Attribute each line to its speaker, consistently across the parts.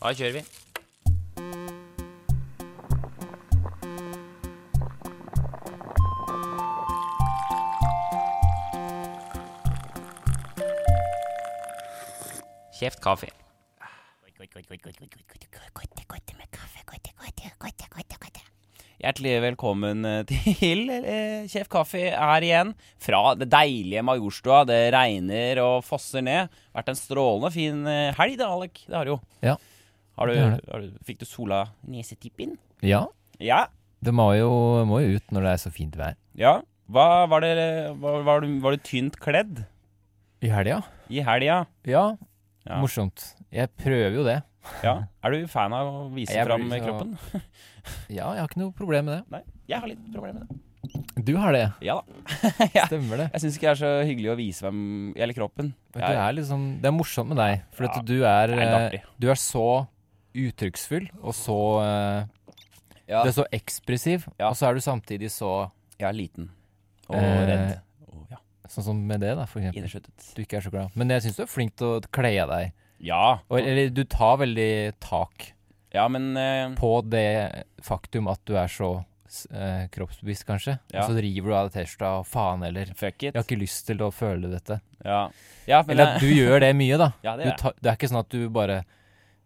Speaker 1: Da kjører vi. Kjeft kaffe. Hjertelig velkommen eh, til eh, Kjeft kaffe her igjen fra det deilige Majorstua. Det regner og fosser ned. Vært en strålende fin eh, helg, det, Alek. Det har det jo.
Speaker 2: Ja.
Speaker 1: Har du,
Speaker 2: Det har det.
Speaker 1: har du, fikk du sola nesetippen?
Speaker 2: Ja,
Speaker 1: Ja.
Speaker 2: det må jo, må jo ut når det er så fint vær.
Speaker 1: Ja. Hva, var, det, var, var, du, var du tynt kledd
Speaker 2: I helga?
Speaker 1: i helga?
Speaker 2: Ja,
Speaker 1: Ja.
Speaker 2: morsomt. Jeg prøver jo det.
Speaker 1: Ja. Er du fan av å vise
Speaker 2: Jeg
Speaker 1: fram
Speaker 2: blir så-
Speaker 1: kroppen?
Speaker 2: Ja, jeg har ikke noe problem med
Speaker 1: Nei, jeg har litt problemer med det.
Speaker 2: det. Du har det,
Speaker 1: Ja da. ja.
Speaker 2: stemmer det.
Speaker 1: Jeg syns ikke det er så hyggelig å vise hvem Eller kroppen.
Speaker 2: Du
Speaker 1: Jeg-
Speaker 2: er liksom, det er morsomt med deg, for
Speaker 1: Ja,
Speaker 2: at du er,
Speaker 1: det er litt
Speaker 2: eh,
Speaker 1: artig.
Speaker 2: du er så uttrykksfull, og så eh,
Speaker 1: Ja.
Speaker 2: Du er så ekspressiv,
Speaker 1: Ja.
Speaker 2: og så er du samtidig så
Speaker 1: Jeg er liten og
Speaker 2: Eh,
Speaker 1: redd. Og ja,
Speaker 2: Sånn som med det, da, for eksempel.
Speaker 1: innesluttet.
Speaker 2: Du ikke er så glad. Men jeg syns du er flink til å kle av deg.
Speaker 1: Ja.
Speaker 2: Og, eh, eller du tar veldig tak
Speaker 1: ja, men eh,
Speaker 2: på det faktum at du er så eh, kroppsbevisst, kanskje.
Speaker 1: Ja.
Speaker 2: Og så river du av deg T-skjorta og faen heller.
Speaker 1: fuck it.
Speaker 2: Jeg har ikke lyst til å føle dette.
Speaker 1: Ja, ja men
Speaker 2: Eller at
Speaker 1: jeg,
Speaker 2: du gjør det mye, da.
Speaker 1: ja,
Speaker 2: Du
Speaker 1: det gjør jeg.
Speaker 2: tar- det er ikke sånn at du bare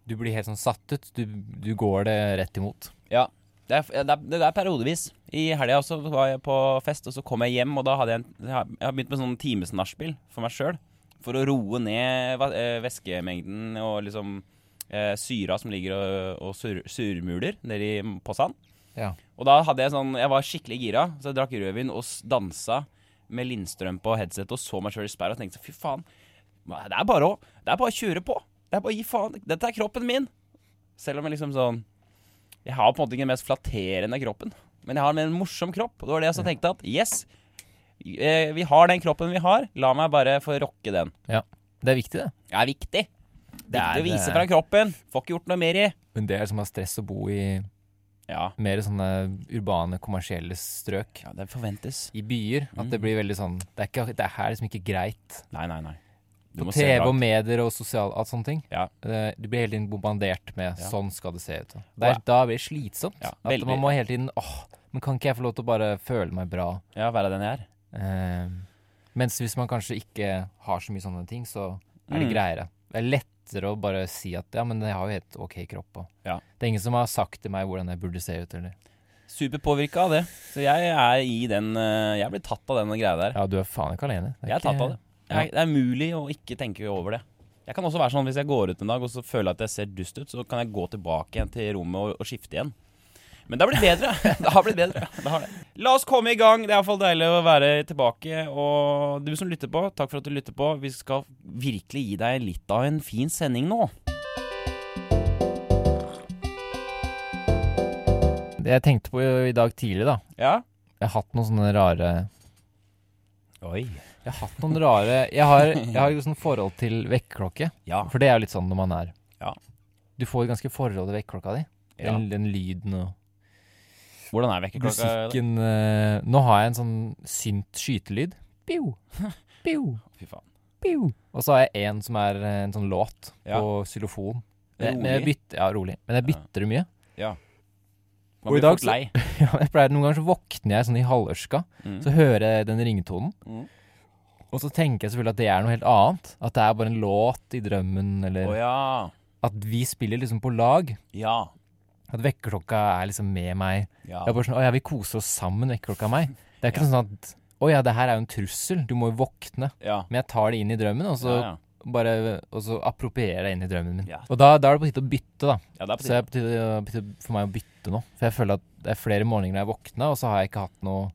Speaker 2: Du blir helt sånn satt ut. Du, du går det rett imot.
Speaker 1: Ja. Det er, det, er, det er periodevis. I helga også var jeg på fest, og så kom jeg hjem, og da hadde jeg en, Jeg har- jeg har begynt med sånn timesnachspiel for meg sjøl. For å roe ned va- eh, væskemengden og liksom eh, syra som ligger og, og sur, surmuler nedi posen.
Speaker 2: Ja.
Speaker 1: Og da hadde jeg sånn Jeg var skikkelig gira, så jeg drakk rødvin og s- dansa med Lindstrømpe og headset og så meg sjøl i speilet og tenkte så, fy faen. Det er bare å Det er bare å kjøre på. Det er bare å gi faen. Dette er kroppen min. Selv om jeg liksom sånn jeg har på en måte ikke den mest flatterende kroppen, men jeg har en morsom kropp. Og det var det jeg også tenkte at yes, eh, vi har den kroppen vi har, la meg bare få rocke den.
Speaker 2: Det er viktig, det.
Speaker 1: Det er viktig. Det
Speaker 2: er-
Speaker 1: er viktig å
Speaker 2: det
Speaker 1: vise
Speaker 2: er-
Speaker 1: fra kroppen. Får ikke gjort noe mer i.
Speaker 2: Men det er som å ha stress å bo i
Speaker 1: Ja.
Speaker 2: mer sånne urbane, kommersielle strøk.
Speaker 1: ja, det forventes.
Speaker 2: I byer. At det
Speaker 1: Mm.
Speaker 2: blir veldig sånn Det er, ikke, det er her liksom ikke greit.
Speaker 1: Nei, nei, nei. Du
Speaker 2: På
Speaker 1: må se
Speaker 2: TV
Speaker 1: bra.
Speaker 2: og medier og sosial, alt sånne ting.
Speaker 1: Ja.
Speaker 2: Eh, Du blir hele tiden bombardert med
Speaker 1: Ja.
Speaker 2: 'sånn skal det se ut'. og
Speaker 1: Og
Speaker 2: Det
Speaker 1: jeg-
Speaker 2: er, da blir det slitsomt.
Speaker 1: Ja,
Speaker 2: at
Speaker 1: veldig.
Speaker 2: man må hele tiden åh, men kan ikke jeg få lov til å bare føle meg bra?
Speaker 1: Ja, være den jeg er.
Speaker 2: Eh, mens hvis man kanskje ikke har så mye sånne ting, så er det
Speaker 1: Mm.
Speaker 2: greiere. Det er lettere å bare si at 'ja, men jeg har jo helt ok kropp', og
Speaker 1: Ja.
Speaker 2: Det er ingen som har sagt til meg hvordan jeg burde se ut, eller
Speaker 1: Superpåvirka av det. Så jeg er i den eh, Jeg blir tatt av den greia der.
Speaker 2: Ja, du er faen ikke alene. Det
Speaker 1: Jeg er tatt av det.
Speaker 2: ja.
Speaker 1: Jeg, det er mulig å ikke tenke over det. Jeg kan også være sånn Hvis jeg går ut en dag og så føler jeg at jeg ser dust ut, så kan jeg gå tilbake igjen til rommet og, og skifte igjen. Men det har blitt bedre. det har blitt bedre. Det har det. La oss komme i gang. Det er iallfall deilig å være tilbake. Og du som lytter på, takk for at du lytter på. Vi skal virkelig gi deg litt av en fin sending nå.
Speaker 2: Jeg tenkte på i i dag tidlig, da.
Speaker 1: Ja?
Speaker 2: Jeg har hatt noen sånne rare
Speaker 1: Oi.
Speaker 2: Jeg har hatt noen rare Jeg har, jeg har jo sånn forhold til vekkerklokke.
Speaker 1: Ja.
Speaker 2: For det er jo litt sånn når man er
Speaker 1: Ja.
Speaker 2: Du får ganske forhold til vekkerklokka di.
Speaker 1: ja.
Speaker 2: Den, den lyden og
Speaker 1: Hvordan er vekkerklokka?
Speaker 2: musikken eh, Nå har jeg en sånn synt skytelyd. Piu, piu,
Speaker 1: Fy faen.
Speaker 2: piu. Og så har jeg en som er eh, en sånn låt
Speaker 1: Ja.
Speaker 2: på xylofon. Eh, Men, men jeg
Speaker 1: Rolig.
Speaker 2: bytter, ja, rolig. Men jeg
Speaker 1: Ja.
Speaker 2: bytter det mye.
Speaker 1: Man
Speaker 2: og i
Speaker 1: blir
Speaker 2: dag
Speaker 1: fort
Speaker 2: så-
Speaker 1: lei.
Speaker 2: Ja, jeg pleier, noen ganger så våkner jeg sånn i halvørska,
Speaker 1: Mm.
Speaker 2: så hører jeg den ringetonen.
Speaker 1: Mm.
Speaker 2: Og så tenker jeg selvfølgelig at det er noe helt annet. At det er bare en låt i drømmen,
Speaker 1: Å
Speaker 2: eller
Speaker 1: ja.
Speaker 2: at vi spiller liksom på lag.
Speaker 1: Ja.
Speaker 2: At vekkerklokka er liksom med meg.
Speaker 1: Ja.
Speaker 2: Det er bare sånn, Å ja, vi koser oss sammen, vekkerklokka og meg. Det er ikke sånn at Å ja, det her er jo en trussel, du må jo våkne.
Speaker 1: ja.
Speaker 2: Men jeg tar det inn i drømmen, og så,
Speaker 1: ja, ja.
Speaker 2: Bare, og så approprierer jeg inn i drømmen min.
Speaker 1: Ja.
Speaker 2: Og da, da er det på tide å bytte, da.
Speaker 1: ja, det er på
Speaker 2: Så det
Speaker 1: tide.
Speaker 2: er på tide på tide for meg å bytte nå. For jeg føler at det er flere morgener jeg våkna, og så har jeg ikke hatt noe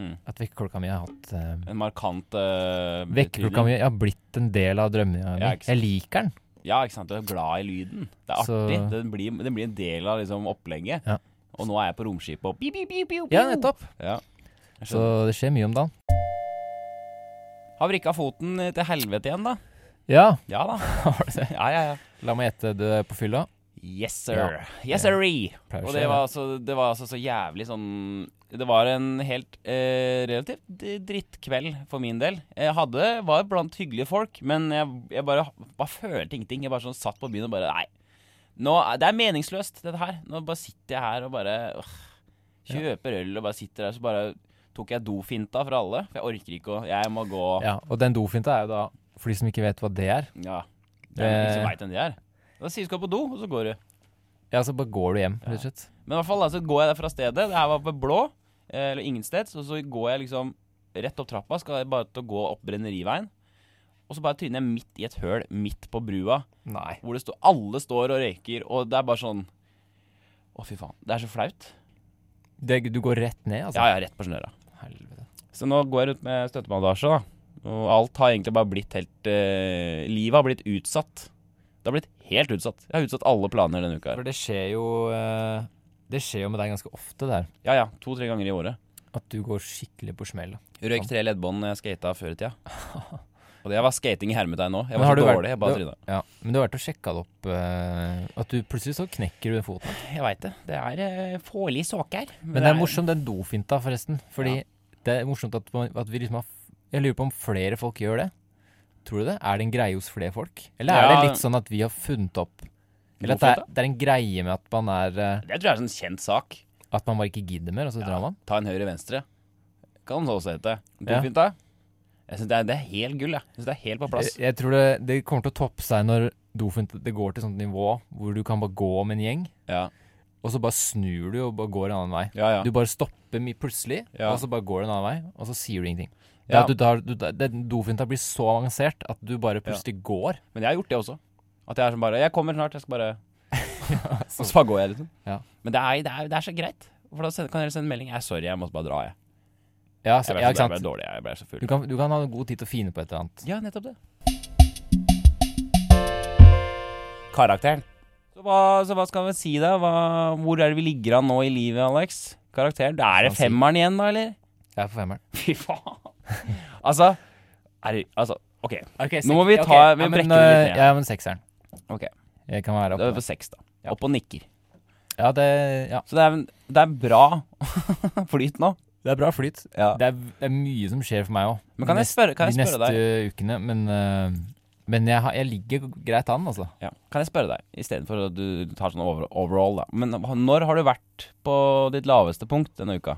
Speaker 1: Mm.
Speaker 2: At vekkerklokka mi har hatt eh,
Speaker 1: En markant uh,
Speaker 2: Vekkerklokka mi har blitt en del av drømmen
Speaker 1: Ja,
Speaker 2: min.
Speaker 1: ikke sant.
Speaker 2: Jeg liker den.
Speaker 1: Ja, ikke sant. Du er glad i lyden. Det er
Speaker 2: Så-
Speaker 1: artig. Den, blir, den blir en del av liksom, opplegget.
Speaker 2: Ja.
Speaker 1: Og nå er jeg på romskipet og piu, piu, piu, piu,
Speaker 2: Ja,
Speaker 1: piu.
Speaker 2: nettopp.
Speaker 1: Ja. Jeg
Speaker 2: Så
Speaker 1: skjønner.
Speaker 2: det skjer mye om dagen.
Speaker 1: Har vrikka foten til helvete igjen, da.
Speaker 2: Ja,
Speaker 1: Ja da.
Speaker 2: har du det?
Speaker 1: Ja, ja, ja.
Speaker 2: La meg gjette det er på fylla.
Speaker 1: Yes, sir. Yes, sirree.
Speaker 2: Pleier å
Speaker 1: Og
Speaker 2: skje,
Speaker 1: det var, altså, det var altså så jævlig sånn Det var en helt eh, relativt d- drittkveld for min del. Jeg hadde, var blant hyggelige folk, men jeg, jeg bare, bare følte ingenting. Jeg bare sånn satt på byen og bare Nei, Nå, er- det er meningsløst, dette her. Nå bare sitter jeg her og bare øh, Kjøper øl og bare sitter der, så bare tok jeg dofinta fra alle. For jeg orker ikke å Jeg må gå Ja.
Speaker 2: Ja, og den dofinta er jo da, for de som ikke vet hva det er
Speaker 1: det er ingen
Speaker 2: Eh.
Speaker 1: som veit hvem de er. Da sier du skal på do, og så går du.
Speaker 2: Ja, så bare går du hjem, rett og slett.
Speaker 1: Men i hvert fall da, så går jeg derfra stedet. Det her var på Blå, eh, eller ingensteds. Og så går jeg liksom rett opp trappa, skal jeg bare til å gå opp Brenneriveien. Og så bare tryner jeg midt i et høl, midt på brua,
Speaker 2: Nei.
Speaker 1: hvor det står, alle står og røyker, og det er bare sånn Å, fy faen. Det er så flaut.
Speaker 2: Det, du går rett ned, altså?
Speaker 1: Ja, ja, rett på snøra.
Speaker 2: Helvete.
Speaker 1: Så nå går jeg rundt med støttebandasje, da. Og alt har egentlig bare blitt helt eh, Livet har blitt utsatt. Det har blitt helt utsatt. Jeg har utsatt alle planer denne uka her.
Speaker 2: For det skjer jo eh, Det skjer jo med deg ganske ofte der.
Speaker 1: Ja ja, to-tre ganger i året.
Speaker 2: At du går skikkelig på smell. da.
Speaker 1: Røyk tre leddbånd når jeg skata før i tida. Og det var skating i hermetegn nå. Jeg
Speaker 2: Men
Speaker 1: var så
Speaker 2: har du vært-
Speaker 1: dårlig. Jeg bare
Speaker 2: du-
Speaker 1: tryna.
Speaker 2: Ja, men du har vært og sjekka det opp eh, At du plutselig så knekker du den foten.
Speaker 1: Jeg veit det. Det
Speaker 2: eh,
Speaker 1: er uh, fålig såke her.
Speaker 2: Men det er morsomt, den dofinta, forresten. Fordi det er morsomt at, man, at vi liksom har f- Jeg lurer på om flere folk gjør det. Tror du det? Er det en greie hos flere folk? Eller er
Speaker 1: Ja.
Speaker 2: det litt sånn at vi har funnet opp Eller at det er, det er en greie med at man er eh,
Speaker 1: Det tror jeg er en sånn kjent sak.
Speaker 2: At man bare ikke gidder mer, og så drar man?
Speaker 1: Ta en høyre-venstre. Kan det også hete.
Speaker 2: Ja.
Speaker 1: Dofint, da? Jeg synes det, er, det er helt gull, jeg. jeg synes det er helt på plass.
Speaker 2: Jeg, jeg tror det, det kommer til å toppe seg når dofinta Det går til sånt nivå hvor du kan bare gå om en gjeng,
Speaker 1: Ja,
Speaker 2: og så bare snur du og bare går en annen vei.
Speaker 1: ja. ja.
Speaker 2: Du bare stopper mi- plutselig,
Speaker 1: Ja.
Speaker 2: og så bare går du en annen vei, og så sier du ingenting. Det
Speaker 1: Ja.
Speaker 2: at du tar, du, den dofinta blir så avansert at du bare plutselig går.
Speaker 1: Men jeg har gjort det også. At jeg er sånn bare Jeg kommer snart, jeg skal bare Og så bare går jeg, liksom.
Speaker 2: Ja.
Speaker 1: Men det er, det, er, det er så greit. For da send- kan dere sende melding. Jeg er sorry, jeg måtte bare dra, jeg.
Speaker 2: Ja,
Speaker 1: Jeg
Speaker 2: så,
Speaker 1: ble,
Speaker 2: Altså, ja
Speaker 1: så,
Speaker 2: ikke
Speaker 1: jeg ble
Speaker 2: sant?
Speaker 1: dårlig, jeg ble så full.
Speaker 2: Du kan, du kan ha god tid til å fine på et eller annet.
Speaker 1: Ja, nettopp det. Karakteren. Så hva, så hva skal vi si da? Hva, hvor er det vi ligger an nå i livet, Alex? Karakteren. Da er det
Speaker 2: Hva si?
Speaker 1: femmeren igjen, da, eller?
Speaker 2: Jeg er på femmeren.
Speaker 1: Fy faen. altså, er det, altså OK.
Speaker 2: Okay,
Speaker 1: Nå må vi ta Vi brekker det litt ned.
Speaker 2: Ja, men sekseren.
Speaker 1: Ok.
Speaker 2: Jeg kan være
Speaker 1: Da er vi
Speaker 2: oppe.
Speaker 1: på seks, da. Opp og nikker.
Speaker 2: Ja, det, ja.
Speaker 1: Så det er, det er bra flyt nå.
Speaker 2: det er bra flyt.
Speaker 1: Ja.
Speaker 2: Det, er, det er mye som skjer for meg òg.
Speaker 1: Men kan jeg spørre, kan jeg
Speaker 2: de
Speaker 1: spørre
Speaker 2: neste
Speaker 1: deg
Speaker 2: ukene. Men, øh, men jeg, har- jeg ligger greit an, altså.
Speaker 1: ja. Kan jeg spørre deg, istedenfor at du tar sånn over, overall, da. Men når har du vært på ditt laveste punkt denne uka?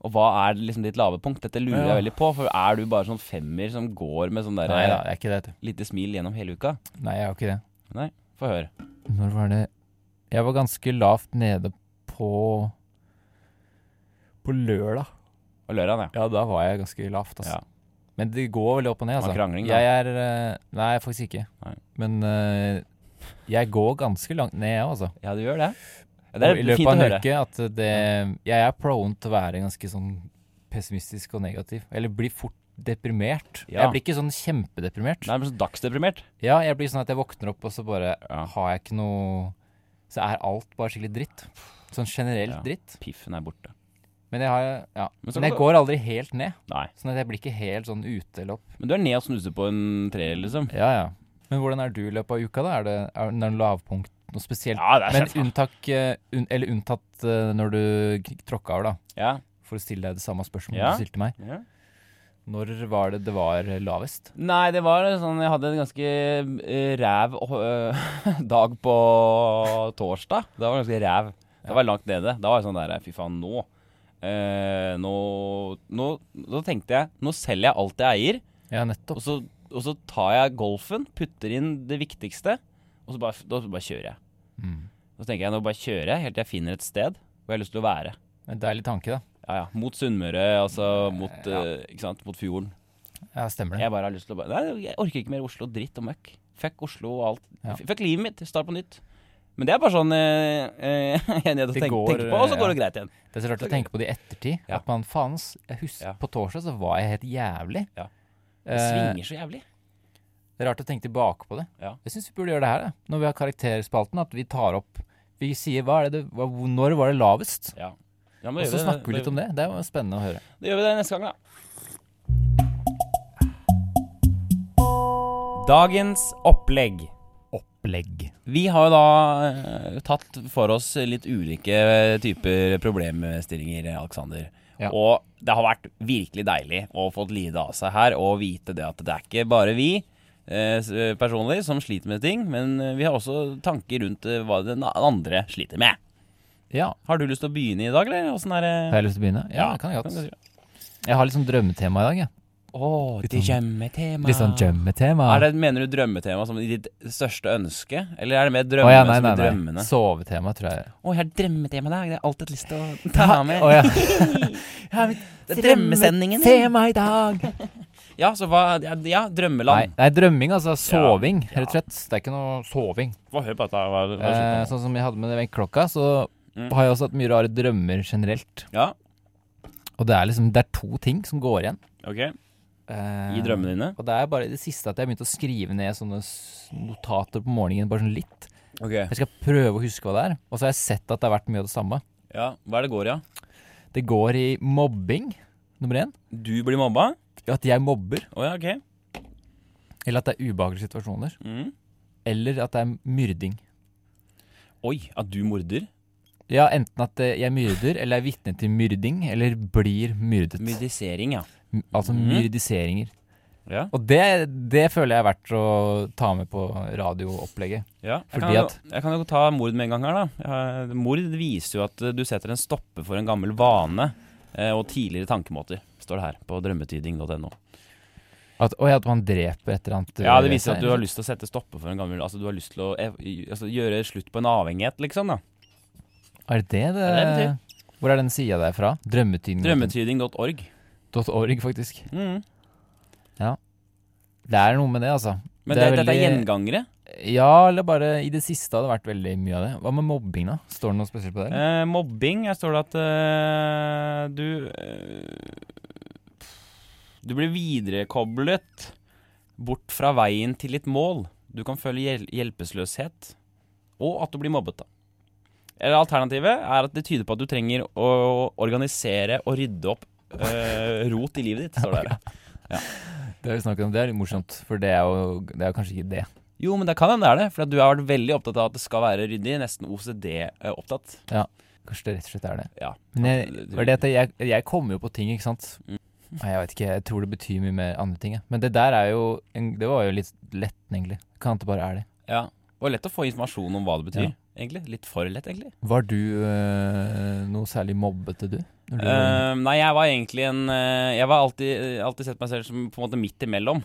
Speaker 1: Og hva er liksom ditt lave punkt? Dette lurer jeg
Speaker 2: Ja.
Speaker 1: veldig på. For er du bare sånn femmer som går med sånn der
Speaker 2: Nei da, jeg er ikke det. vet
Speaker 1: lite smil gjennom hele uka?
Speaker 2: du. Nei, jeg er jo ikke det.
Speaker 1: Få høre.
Speaker 2: Når var det Jeg var ganske lavt nede på På lørdag.
Speaker 1: Og Løran, ja.
Speaker 2: Ja, da var jeg ganske lavt, altså.
Speaker 1: Ja.
Speaker 2: Men det går veldig opp og ned,
Speaker 1: Det var
Speaker 2: altså.
Speaker 1: krangling, da.
Speaker 2: jeg er øh, Nei, faktisk ikke.
Speaker 1: Nei.
Speaker 2: Men øh, jeg går ganske langt ned, jeg, altså.
Speaker 1: ja, du gjør det. Ja, det
Speaker 2: Og
Speaker 1: er
Speaker 2: I løpet
Speaker 1: fint
Speaker 2: av
Speaker 1: å
Speaker 2: en
Speaker 1: høre.
Speaker 2: uke at det Jeg er prone til å være ganske sånn pessimistisk og negativ. Eller blir fort deprimert.
Speaker 1: Ja.
Speaker 2: Jeg blir ikke sånn kjempedeprimert.
Speaker 1: Nei, men så dagsdeprimert.
Speaker 2: Ja, jeg blir sånn at jeg våkner opp, og så bare
Speaker 1: Ja.
Speaker 2: har jeg ikke noe Så er alt bare skikkelig dritt. Sånn generelt
Speaker 1: Ja.
Speaker 2: dritt.
Speaker 1: Piffen er borte.
Speaker 2: Men jeg har Ja.
Speaker 1: Men
Speaker 2: Men,
Speaker 1: så kan
Speaker 2: jeg
Speaker 1: du-
Speaker 2: går aldri helt ned.
Speaker 1: Nei.
Speaker 2: Sånn at jeg blir ikke helt sånn ute eller opp.
Speaker 1: Men du er ned og snuser på en treer, liksom.
Speaker 2: Ja, ja. Men hvordan er du i løpet av uka, da? Er det, er det noen lavpunkt? Noe spesielt?
Speaker 1: Ja, det er
Speaker 2: Men
Speaker 1: kjent.
Speaker 2: unntak, eh, un, eller unntatt eh, når du k- tråkka over, da.
Speaker 1: Ja.
Speaker 2: for å stille deg det samme spørsmålet
Speaker 1: Ja.
Speaker 2: du stilte meg.
Speaker 1: ja.
Speaker 2: Når var det det var lavest?
Speaker 1: Nei, det var sånn Jeg hadde en ganske eh, ræv eh, dag på torsdag. Det var ganske ræv. Det var langt nede. Da var jeg sånn der Fy faen, nå. eh, nå, nå Da tenkte jeg Nå selger jeg alt jeg eier,
Speaker 2: Ja,
Speaker 1: og
Speaker 2: nettopp.
Speaker 1: så, og så tar jeg golfen, putter inn det viktigste, og så bare, da bare kjører jeg.
Speaker 2: Mm.
Speaker 1: Så tenker jeg nå bare kjører jeg helt til jeg finner et sted hvor jeg har lyst til å være.
Speaker 2: En deilig tanke, da.
Speaker 1: Ja, ja. Mot Sunnmøre, altså mot,
Speaker 2: Ja.
Speaker 1: eh, ikke sant? mot fjorden.
Speaker 2: Ja, stemmer det.
Speaker 1: Jeg bare har lyst til å bare Nei, jeg orker ikke mer Oslo. Dritt og møkk. Fuck Oslo og alt.
Speaker 2: Ja.
Speaker 1: F- Fuck livet mitt. Start på nytt. Men det er bare sånn eh, eh, jeg er nede og
Speaker 2: Det
Speaker 1: tenker,
Speaker 2: går,
Speaker 1: tenker på, og så
Speaker 2: eh,
Speaker 1: går det greit igjen.
Speaker 2: Det er så rart å tenke på det i ettertid.
Speaker 1: Ja.
Speaker 2: At man faen, ass, jeg husker
Speaker 1: Ja.
Speaker 2: på torsdag så var jeg helt jævlig.
Speaker 1: Ja. Det
Speaker 2: Eh,
Speaker 1: svinger så jævlig.
Speaker 2: det er rart å tenke tilbake på det.
Speaker 1: Ja.
Speaker 2: Jeg syns vi burde gjøre det her, da. når vi har karakterspalten. At vi tar opp Vi sier hva er det, det hva, hvor- når var det lavest?
Speaker 1: Ja. Ja,
Speaker 2: Og så snakker vi litt om det. Det er jo spennende å høre.
Speaker 1: Da gjør vi det neste gang, da. Dagens opplegg.
Speaker 2: Opplegg.
Speaker 1: Vi har jo da eh, tatt for oss litt ulike typer problemstillinger, Alexander.
Speaker 2: Ja.
Speaker 1: Og det har vært virkelig deilig å få lide av seg her og vite det at det er ikke bare vi. eh, s- eh, personlig som sliter med ting, men eh, vi har også tanker rundt eh, hva den andre sliter med.
Speaker 2: Ja.
Speaker 1: Har du lyst til å begynne i dag, eller? Åssen er det?
Speaker 2: Har jeg lyst til å begynne? Ja, det kan jeg godt. Jeg har litt sånn drømmetema i dag, jeg.
Speaker 1: Å,
Speaker 2: Litt
Speaker 1: det
Speaker 2: sånn-
Speaker 1: kommer tema.
Speaker 2: Litt sånn drømmetema.
Speaker 1: Er det, mener du drømmetema som ditt største ønske, eller er det mer
Speaker 2: Å
Speaker 1: drømmene
Speaker 2: ja, nei,
Speaker 1: som
Speaker 2: nei,
Speaker 1: er
Speaker 2: nei.
Speaker 1: drømmene?
Speaker 2: Sovetema, tror jeg.
Speaker 1: Å, jeg har drømmetema i dag. Det har jeg alltid lyst til å ta med.
Speaker 2: Å ja.
Speaker 1: Det er drømmesendingen.
Speaker 2: Tema i dag!
Speaker 1: Ja, så hva Ja, ja
Speaker 2: Nei,
Speaker 1: drømmeland.
Speaker 2: nei, drømming, altså.
Speaker 1: Ja,
Speaker 2: Soving,
Speaker 1: ja.
Speaker 2: rett og slett. Det er ikke noe soving.
Speaker 1: Få høre på dette. Hva, hva
Speaker 2: Eh,
Speaker 1: skjer nå?
Speaker 2: sånn som jeg hadde med den vekkerklokka, så
Speaker 1: Mm.
Speaker 2: har jeg også hatt mye rare drømmer generelt.
Speaker 1: ja,
Speaker 2: Og det er liksom det er to ting som går igjen.
Speaker 1: OK.
Speaker 2: Eh,
Speaker 1: Gi drømmene dine.
Speaker 2: Og det er bare i det siste at jeg har begynt å skrive ned sånne s- notater på morgenen. Bare sånn litt.
Speaker 1: Ok,
Speaker 2: Jeg skal prøve å huske hva det er. Og så har jeg sett at det har vært mye av det samme.
Speaker 1: ja, Hva er det går i? Ja?
Speaker 2: Det går i mobbing, nummer én.
Speaker 1: Du blir mobba?
Speaker 2: At jeg mobber.
Speaker 1: Å ja, OK.
Speaker 2: Eller at det er ubehagelige situasjoner.
Speaker 1: Mm.
Speaker 2: Eller at det er myrding.
Speaker 1: Oi, at du morder?
Speaker 2: Ja, enten at eh, jeg myrder, eller er vitne til myrding, eller blir myrdet.
Speaker 1: Myrdisering, ja.
Speaker 2: M- Altså
Speaker 1: Mhm.
Speaker 2: myrdiseringer.
Speaker 1: Ja.
Speaker 2: Og det, det føler jeg er verdt å ta med på radioopplegget.
Speaker 1: ja. Jeg,
Speaker 2: Fordi
Speaker 1: kan jo,
Speaker 2: at-
Speaker 1: jeg kan jo ta mord med en gang her, da. Jeg har- Mord viser jo at eh, du setter en stopper for en gammel vane eh, og tidligere tankemåter, står det her på drømmetyding.no.
Speaker 2: At, og at man dreper et eller annet.
Speaker 1: Ja, det
Speaker 2: eh,
Speaker 1: viser at du
Speaker 2: senere.
Speaker 1: har lyst til å sette stopper for en gammel Altså, du har lyst til å ev altså, gjøre slutt på en avhengighet, liksom, da.
Speaker 2: Er det det
Speaker 1: Ja, det
Speaker 2: det Hvor er den sida der fra? Drømmetydning.org,
Speaker 1: Drømmetyding.org.
Speaker 2: faktisk.
Speaker 1: Mm.
Speaker 2: Det er noe med det, altså.
Speaker 1: Men
Speaker 2: Det
Speaker 1: det
Speaker 2: er
Speaker 1: dette er
Speaker 2: veldig-
Speaker 1: gjengangere.
Speaker 2: Ja, eller bare i det siste har det vært veldig mye av det. Hva med mobbing, da? Står det noe spesielt på det? eller?
Speaker 1: Eh, mobbing, her står det at eh, du eh, Du blir viderekoblet bort fra veien til ditt mål. Du kan føle hjel hjelpeløshet, og at du blir mobbet. da. Eller alternativet er at det tyder på at du trenger å organisere og rydde opp eh, rot i livet ditt. står det her.
Speaker 2: Det har vi snakket om, det er litt morsomt, for det er jo, det er jo kanskje ikke det.
Speaker 1: Jo, men det kan hende det er det, for at du har vært veldig opptatt av at det skal være ryddig. Nesten OCD-opptatt.
Speaker 2: Kanskje det rett og slett er det.
Speaker 1: Ja.
Speaker 2: Men jeg,
Speaker 1: Det- det-
Speaker 2: var det at jeg, jeg kommer jo på ting, ikke sant.
Speaker 1: Mm.
Speaker 2: Nei, Jeg vet ikke, jeg tror det betyr mye med andre ting. jeg. Men det der er jo en, Det var jo litt lett, egentlig. Kan det bare er det.
Speaker 1: Ja. Det var lett å få informasjon om hva det betyr.
Speaker 2: Ja.
Speaker 1: egentlig. Litt for lett, egentlig.
Speaker 2: Var du øh, noe særlig mobbete, du? Når du
Speaker 1: Eh, nei, jeg var egentlig en eh, Jeg var alltid, eh, alltid sett meg selv som på en måte midt imellom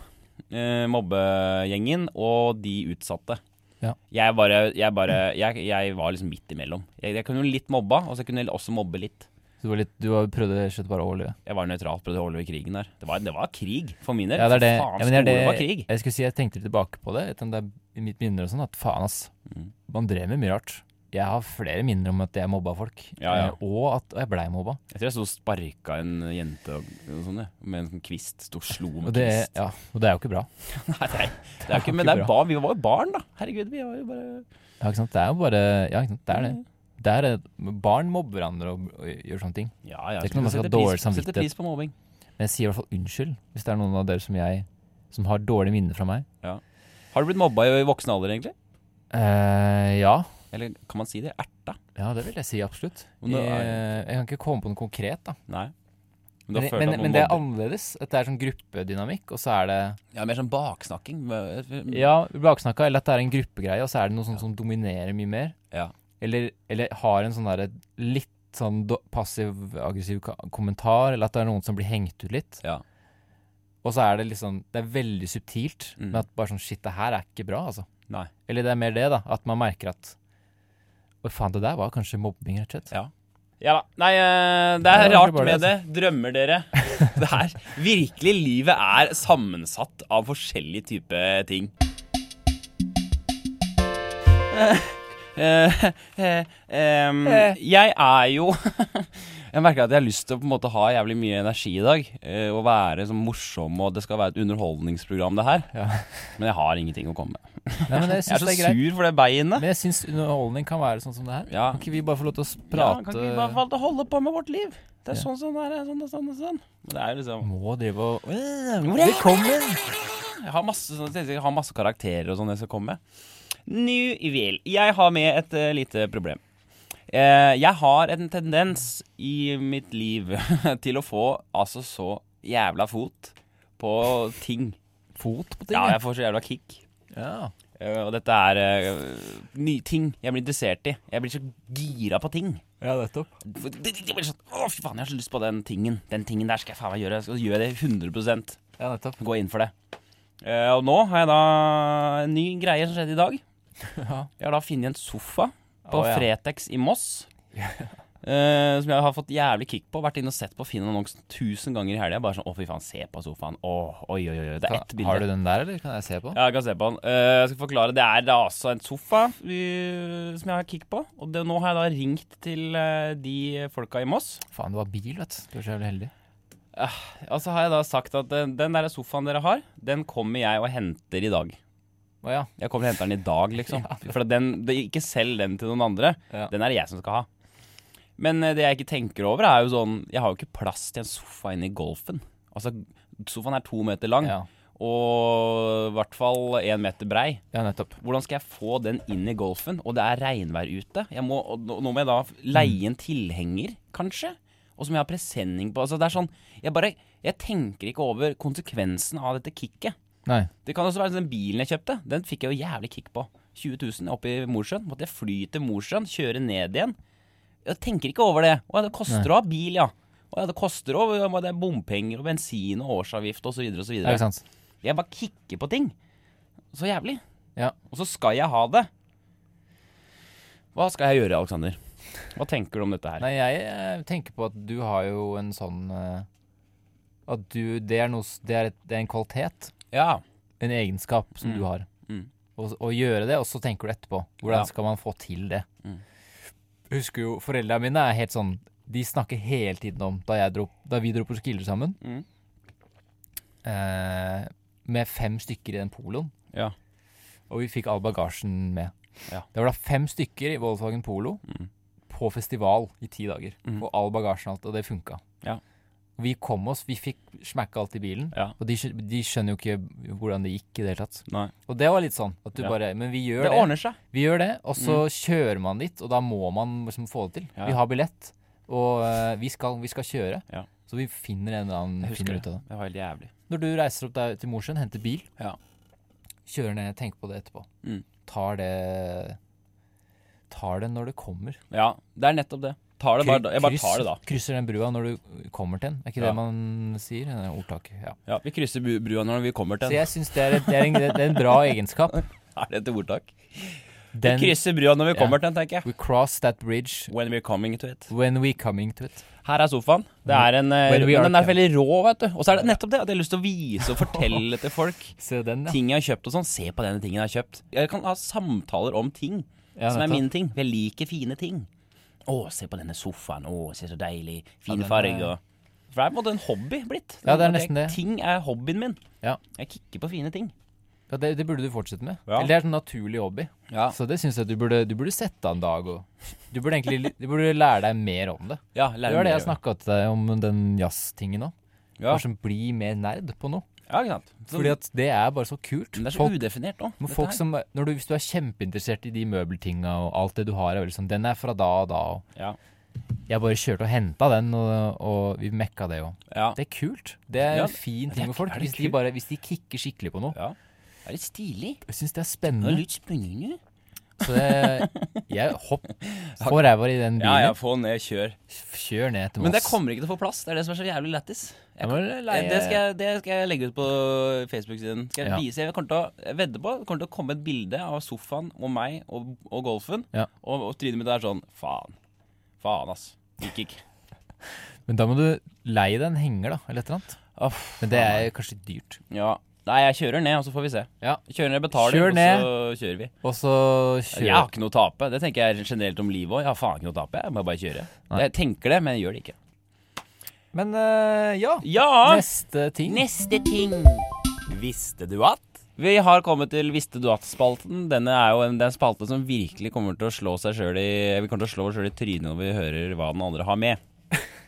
Speaker 1: eh, mobbegjengen og de utsatte.
Speaker 2: Ja.
Speaker 1: Jeg bare, jeg, bare jeg, jeg var liksom midt imellom. Jeg, jeg kunne litt mobba, og så kunne jeg også mobbe litt.
Speaker 2: så du, var litt, du var- prøvde rett og slett bare å overleve?
Speaker 1: Jeg var nøytral på det holdet i krigen der. Det var, det var krig for min del.
Speaker 2: Ja, det er det.
Speaker 1: For faen,
Speaker 2: Ja, men det er
Speaker 1: skolen
Speaker 2: det-
Speaker 1: var krig.
Speaker 2: Jeg skulle si, jeg tenkte litt tilbake på det, etter om det er i mitt minner og sånn, at faen, ass.
Speaker 1: Mm.
Speaker 2: Man drev med mye rart. Jeg har flere minner om at jeg mobba folk,
Speaker 1: Ja, ja.
Speaker 2: eh, og at og jeg blei mobba.
Speaker 1: Jeg tror jeg sto og sparka en jente og, og sånn, jeg, med en sånn kvist. Sto og slo
Speaker 2: Og
Speaker 1: med
Speaker 2: det,
Speaker 1: kvist.
Speaker 2: ja, og det er jo ikke bra.
Speaker 1: Nei, det er, det er
Speaker 2: ikke
Speaker 1: ikke, men det er
Speaker 2: bra.
Speaker 1: barn, vi var jo barn, da. Herregud, vi var jo bare
Speaker 2: Ja, ikke sant? Det er jo bare Ja, ikke sant? det er det. det er, det. barn mobber hverandre og, og gjør sånne ting.
Speaker 1: Ja, ja.
Speaker 2: Det er ikke noe man skal ha
Speaker 1: setter pris-
Speaker 2: dårlig samvittighet.
Speaker 1: Setter pris på mobbing.
Speaker 2: Men jeg sier i hvert fall unnskyld hvis det er noen av dere som jeg Som har dårlige minner fra meg.
Speaker 1: Har du blitt mobba i i voksen alder, egentlig?
Speaker 2: Eh, ja.
Speaker 1: Eller kan man si det? Erta?
Speaker 2: Ja, det vil jeg si absolutt.
Speaker 1: Men det er-
Speaker 2: Eh, jeg kan ikke komme på noe konkret, da.
Speaker 1: Nei. Men, du
Speaker 2: Men,
Speaker 1: har følt
Speaker 2: men,
Speaker 1: at noen
Speaker 2: men det er
Speaker 1: mobber.
Speaker 2: annerledes. At det er sånn gruppedynamikk, og så er det
Speaker 1: Ja, mer sånn baksnakking. Mm.
Speaker 2: Ja, baksnakka, eller at det er en gruppegreie, og så er det noe sånt som dominerer mye mer.
Speaker 1: Ja.
Speaker 2: Eller, eller har en sånn derre litt sånn do- passiv-aggressiv ka- kommentar, eller at det er noen som blir hengt ut litt.
Speaker 1: Ja.
Speaker 2: Og så er det liksom Det er veldig subtilt,
Speaker 1: Mm.
Speaker 2: men at bare sånn Shit, det her er ikke bra, altså.
Speaker 1: Nei.
Speaker 2: Eller det er mer det, da. At man merker at Å, faen, det der var kanskje mobbing, rett og slett.
Speaker 1: Ja. Ja da. Nei, eh, det
Speaker 2: Ja,
Speaker 1: er
Speaker 2: det er
Speaker 1: rart
Speaker 2: bare
Speaker 1: med det.
Speaker 2: det, altså.
Speaker 1: Drømmer dere. Det er virkelig Livet er sammensatt av forskjellige typer ting. Eh, eh, eh, em,
Speaker 2: Eh.
Speaker 1: jeg er jo Jeg merker at jeg har lyst til å på en måte ha jævlig mye energi i dag. eh, Og være sånn morsom, og det skal være et underholdningsprogram, det her.
Speaker 2: Ja.
Speaker 1: Men jeg har ingenting å komme med.
Speaker 2: Nei, men jeg
Speaker 1: Jeg er
Speaker 2: syns
Speaker 1: så
Speaker 2: det er greit.
Speaker 1: sur for det beinet.
Speaker 2: Men jeg syns underholdning kan være sånn som det her.
Speaker 1: Ja.
Speaker 2: Kan ikke vi bare få lov til å s-
Speaker 1: Ja,
Speaker 2: prate
Speaker 1: kan ikke vi bare få lov til å holde på med vårt liv? Det er
Speaker 2: Ja.
Speaker 1: sånn, sånn, der, sånn, og sånn, og sånn. Det er jo liksom
Speaker 2: Må drive og
Speaker 1: Velkommen! Jeg har masse, sånne ting, jeg har masse karakterer og sånn jeg skal komme med. Nå vel. Jeg har med et eh, lite problem. Eh, jeg har en tendens i mitt liv til å få altså så jævla fot på ting.
Speaker 2: fot på ting.
Speaker 1: Ja,
Speaker 2: jeg.
Speaker 1: jeg får så jævla kick.
Speaker 2: Ja.
Speaker 1: Eh, og dette er eh, nye ting jeg blir interessert i. Jeg blir så gira på ting.
Speaker 2: ja, nettopp.
Speaker 1: For det- det- det blir sånn, Å, fy faen, jeg har så lyst på den tingen. Den tingen der skal jeg faen meg gjøre. Så gjør jeg det 100
Speaker 2: Ja, nettopp.
Speaker 1: Gå inn for det. Eh, og nå har jeg da en ny greie som skjedde i dag.
Speaker 2: Ja.
Speaker 1: Jeg har da funnet en sofa på
Speaker 2: Å, ja.
Speaker 1: Fretex i Moss. eh, som jeg har fått jævlig kick på. Vært inne og sett på Finn annonsen tusen ganger i helga. Bare sånn, å fy faen, se på sofaen. Å, oi, oi, oi. Det er ett bilde.
Speaker 2: Har du den der, eller kan jeg se på?
Speaker 1: Ja, jeg kan se på den. Eh, jeg skal forklare. Det er da altså en sofa eh, som jeg har kick på. Og det, nå har jeg da ringt til eh, de folka i Moss.
Speaker 2: Faen, det var bil, vet du. Du er så jævlig heldig.
Speaker 1: Og så har jeg da sagt at eh, den der sofaen dere har, den kommer jeg og henter i dag.
Speaker 2: Å ja.
Speaker 1: Jeg kommer og henter den i dag, liksom. For den, det, ikke selg den til noen andre.
Speaker 2: Ja.
Speaker 1: Den er det jeg som skal ha. Men eh, det jeg ikke tenker over, er jo sånn Jeg har jo ikke plass til en sofa inne i golfen. Altså, sofaen er to meter lang,
Speaker 2: ja.
Speaker 1: og i hvert fall én meter brei.
Speaker 2: Ja, nettopp.
Speaker 1: Hvordan skal jeg få den inn i golfen? Og det er regnvær ute. Jeg må, og nå nå må jeg da leie en tilhenger, kanskje? Og så må jeg ha presenning på. Altså, det er sånn Jeg bare Jeg tenker ikke over konsekvensen av dette kicket.
Speaker 2: Nei.
Speaker 1: Det kan også være den bilen jeg kjøpte. Den fikk jeg jo jævlig kick på. 20 000 oppe i Mosjøen. Måtte jeg fly til Mosjøen, kjøre ned igjen. Jeg tenker ikke over det. Å ja, det koster å ha bil, ja. Å ja, det koster å ja, Det er bompenger og bensin og årsavgift osv. osv.
Speaker 2: Det er ikke sant.
Speaker 1: Jeg bare kicker på ting. Så jævlig.
Speaker 2: Ja.
Speaker 1: Og så skal jeg ha det. Hva skal jeg gjøre, Aleksander? Hva tenker du om dette her?
Speaker 2: Nei, jeg eh, tenker på at du har jo en sånn eh, At du Det er, noe, s- det er, et, det er en kvalitet,
Speaker 1: Ja.
Speaker 2: en egenskap, som du har.
Speaker 1: Mm.
Speaker 2: Og, og gjøre det, og så tenker du etterpå. Hvordan
Speaker 1: Ja.
Speaker 2: skal man få til det?
Speaker 1: Mm.
Speaker 2: Jeg husker jo foreldrene mine er helt sånn De snakker hele tiden om da, jeg dro, da vi dro på Skiller sammen,
Speaker 1: Mm.
Speaker 2: eh, med fem stykker i den poloen.
Speaker 1: Ja.
Speaker 2: Og vi fikk all bagasjen med.
Speaker 1: Ja.
Speaker 2: Det var da fem stykker i Volkswagen Polo
Speaker 1: Mm.
Speaker 2: på festival i ti dager.
Speaker 1: Mhm.
Speaker 2: Og all bagasjen og alt, og det funka.
Speaker 1: Ja.
Speaker 2: Vi kom oss, vi fikk smekka alt i bilen.
Speaker 1: Ja.
Speaker 2: Og de, skjø- de skjønner jo ikke hvordan det gikk i det hele tatt.
Speaker 1: Nei.
Speaker 2: Og det var litt sånn at du
Speaker 1: Ja.
Speaker 2: bare Men vi gjør
Speaker 1: Det
Speaker 2: det.
Speaker 1: ordner seg.
Speaker 2: Vi gjør det, og så kjører man dit, og da må man liksom få det til.
Speaker 1: Ja.
Speaker 2: Vi har billett, og eh, vi, skal, vi skal kjøre.
Speaker 1: Ja.
Speaker 2: Så vi finner en eller annen finner ut av det.
Speaker 1: Det var helt jævlig.
Speaker 2: Når du reiser opp der til Mosjøen, henter bil,
Speaker 1: Ja.
Speaker 2: kjører ned, tenker på det etterpå.
Speaker 1: Mm.
Speaker 2: Tar det Tar det når det kommer.
Speaker 1: Ja, det er nettopp det. Tar det bare, da- jeg bare tar det da.
Speaker 2: Krysser den brua når du kommer til den. Er ikke
Speaker 1: Ja.
Speaker 2: det man sier? Det er ordtaket. Ja.
Speaker 1: Ja, vi krysser bu- brua når vi kommer
Speaker 2: Så
Speaker 1: til den.
Speaker 2: jeg syns det, er et- det, er en- det er en bra egenskap.
Speaker 1: Er det et ordtak? Vi
Speaker 2: Den,
Speaker 1: krysser brua når vi
Speaker 2: Ja.
Speaker 1: kommer til den, tenker jeg.
Speaker 2: we cross that bridge
Speaker 1: When we're coming to it.
Speaker 2: when we coming to it.
Speaker 1: Her er sofaen. Det er en, eh,
Speaker 2: When we are
Speaker 1: den er
Speaker 2: coming.
Speaker 1: veldig rå, vet du. Og så er det nettopp det at jeg har lyst til å vise og fortelle til folk
Speaker 2: Se den, ja.
Speaker 1: ting jeg har kjøpt og sånn. Se på denne tingen jeg har kjøpt. Jeg kan ha samtaler om ting.
Speaker 2: ja
Speaker 1: som er
Speaker 2: nettopp.
Speaker 1: mine ting. for Jeg liker fine ting. Å, se på denne sofaen. Å, se så deilig. Fin
Speaker 2: Ja, den er-
Speaker 1: farge og For det er på en måte en hobby blitt.
Speaker 2: Ja, det er
Speaker 1: At jeg-
Speaker 2: nesten det.
Speaker 1: Ting er hobbyen min.
Speaker 2: Ja.
Speaker 1: Jeg kikker på fine ting.
Speaker 2: Ja, det, det burde du fortsette med.
Speaker 1: Ja.
Speaker 2: Eller det er en sånn naturlig hobby.
Speaker 1: Ja.
Speaker 2: Så det syns jeg du burde, du burde sette av en dag. Og, du, burde egentlig, du burde lære deg mer om det.
Speaker 1: ja
Speaker 2: Det var det jeg snakka til deg om den jazztingen òg.
Speaker 1: Ja.
Speaker 2: Bare sånn bli mer nerd på noe.
Speaker 1: Ja, ikke sant. Så,
Speaker 2: Fordi at det er bare så kult.
Speaker 1: men det er så
Speaker 2: Folk,
Speaker 1: udefinert nå.
Speaker 2: men
Speaker 1: dette
Speaker 2: folk
Speaker 1: her.
Speaker 2: som, når du, hvis du er kjempeinteressert i de møbeltinga og alt det du har, er veldig sånn Den er fra da og da, og
Speaker 1: Ja.
Speaker 2: jeg bare kjørte og henta den, og, og vi mekka det òg.
Speaker 1: Ja.
Speaker 2: Det er kult. Det er
Speaker 1: Ja,
Speaker 2: en fin
Speaker 1: det er-
Speaker 2: ting med folk.
Speaker 1: er det
Speaker 2: Hvis de,
Speaker 1: kult?
Speaker 2: bare, hvis de kicker skikkelig på noe.
Speaker 1: ja. Det er litt stilig.
Speaker 2: Jeg syns det er
Speaker 1: Det er
Speaker 2: spennende.
Speaker 1: litt spennende.
Speaker 2: Så det, jeg hopp Få ræva i den bilen.
Speaker 1: Ja, ja, få ned, kjør.
Speaker 2: Kjør ned til Moss.
Speaker 1: Men det kommer ikke til å få plass. Det er det som er så jævlig lættis. Jeg
Speaker 2: Ja, men leie-
Speaker 1: Det skal, jeg, det skal jeg legge ut på Facebook-siden. Skal Jeg
Speaker 2: Ja.
Speaker 1: vise, jeg kommer til å jeg vedder på det kommer til å komme et bilde av sofaen og meg og, og golfen.
Speaker 2: Ja.
Speaker 1: Og, og trynet mitt er sånn Faen. Faen, ass. Gikk ikke.
Speaker 2: Men da må du leie deg en henger, da, eller et eller annet. Men det er kanskje dyrt.
Speaker 1: Ja. Nei, jeg kjører ned, og så får vi se.
Speaker 2: Ja.
Speaker 1: Jeg Kjører ned, betaler,
Speaker 2: Kjør ned.
Speaker 1: og så kjører vi.
Speaker 2: Og så kjør
Speaker 1: Jeg har ikke noe å tape. Det tenker jeg generelt om livet òg. Jeg har faen ikke noe å tape. Jeg må bare kjøre.
Speaker 2: Nei.
Speaker 1: Jeg tenker det, men jeg gjør det ikke.
Speaker 2: Men eh, ja.
Speaker 1: Ja!
Speaker 2: Neste ting.
Speaker 1: Neste ting. Visste du at? Vi har kommet til Visste du at-spalten. Denne er jo en, det er en spalte som virkelig kommer til å slå seg selv i Vi kommer til å slå oss sjøl i trynet når vi hører hva den andre har med.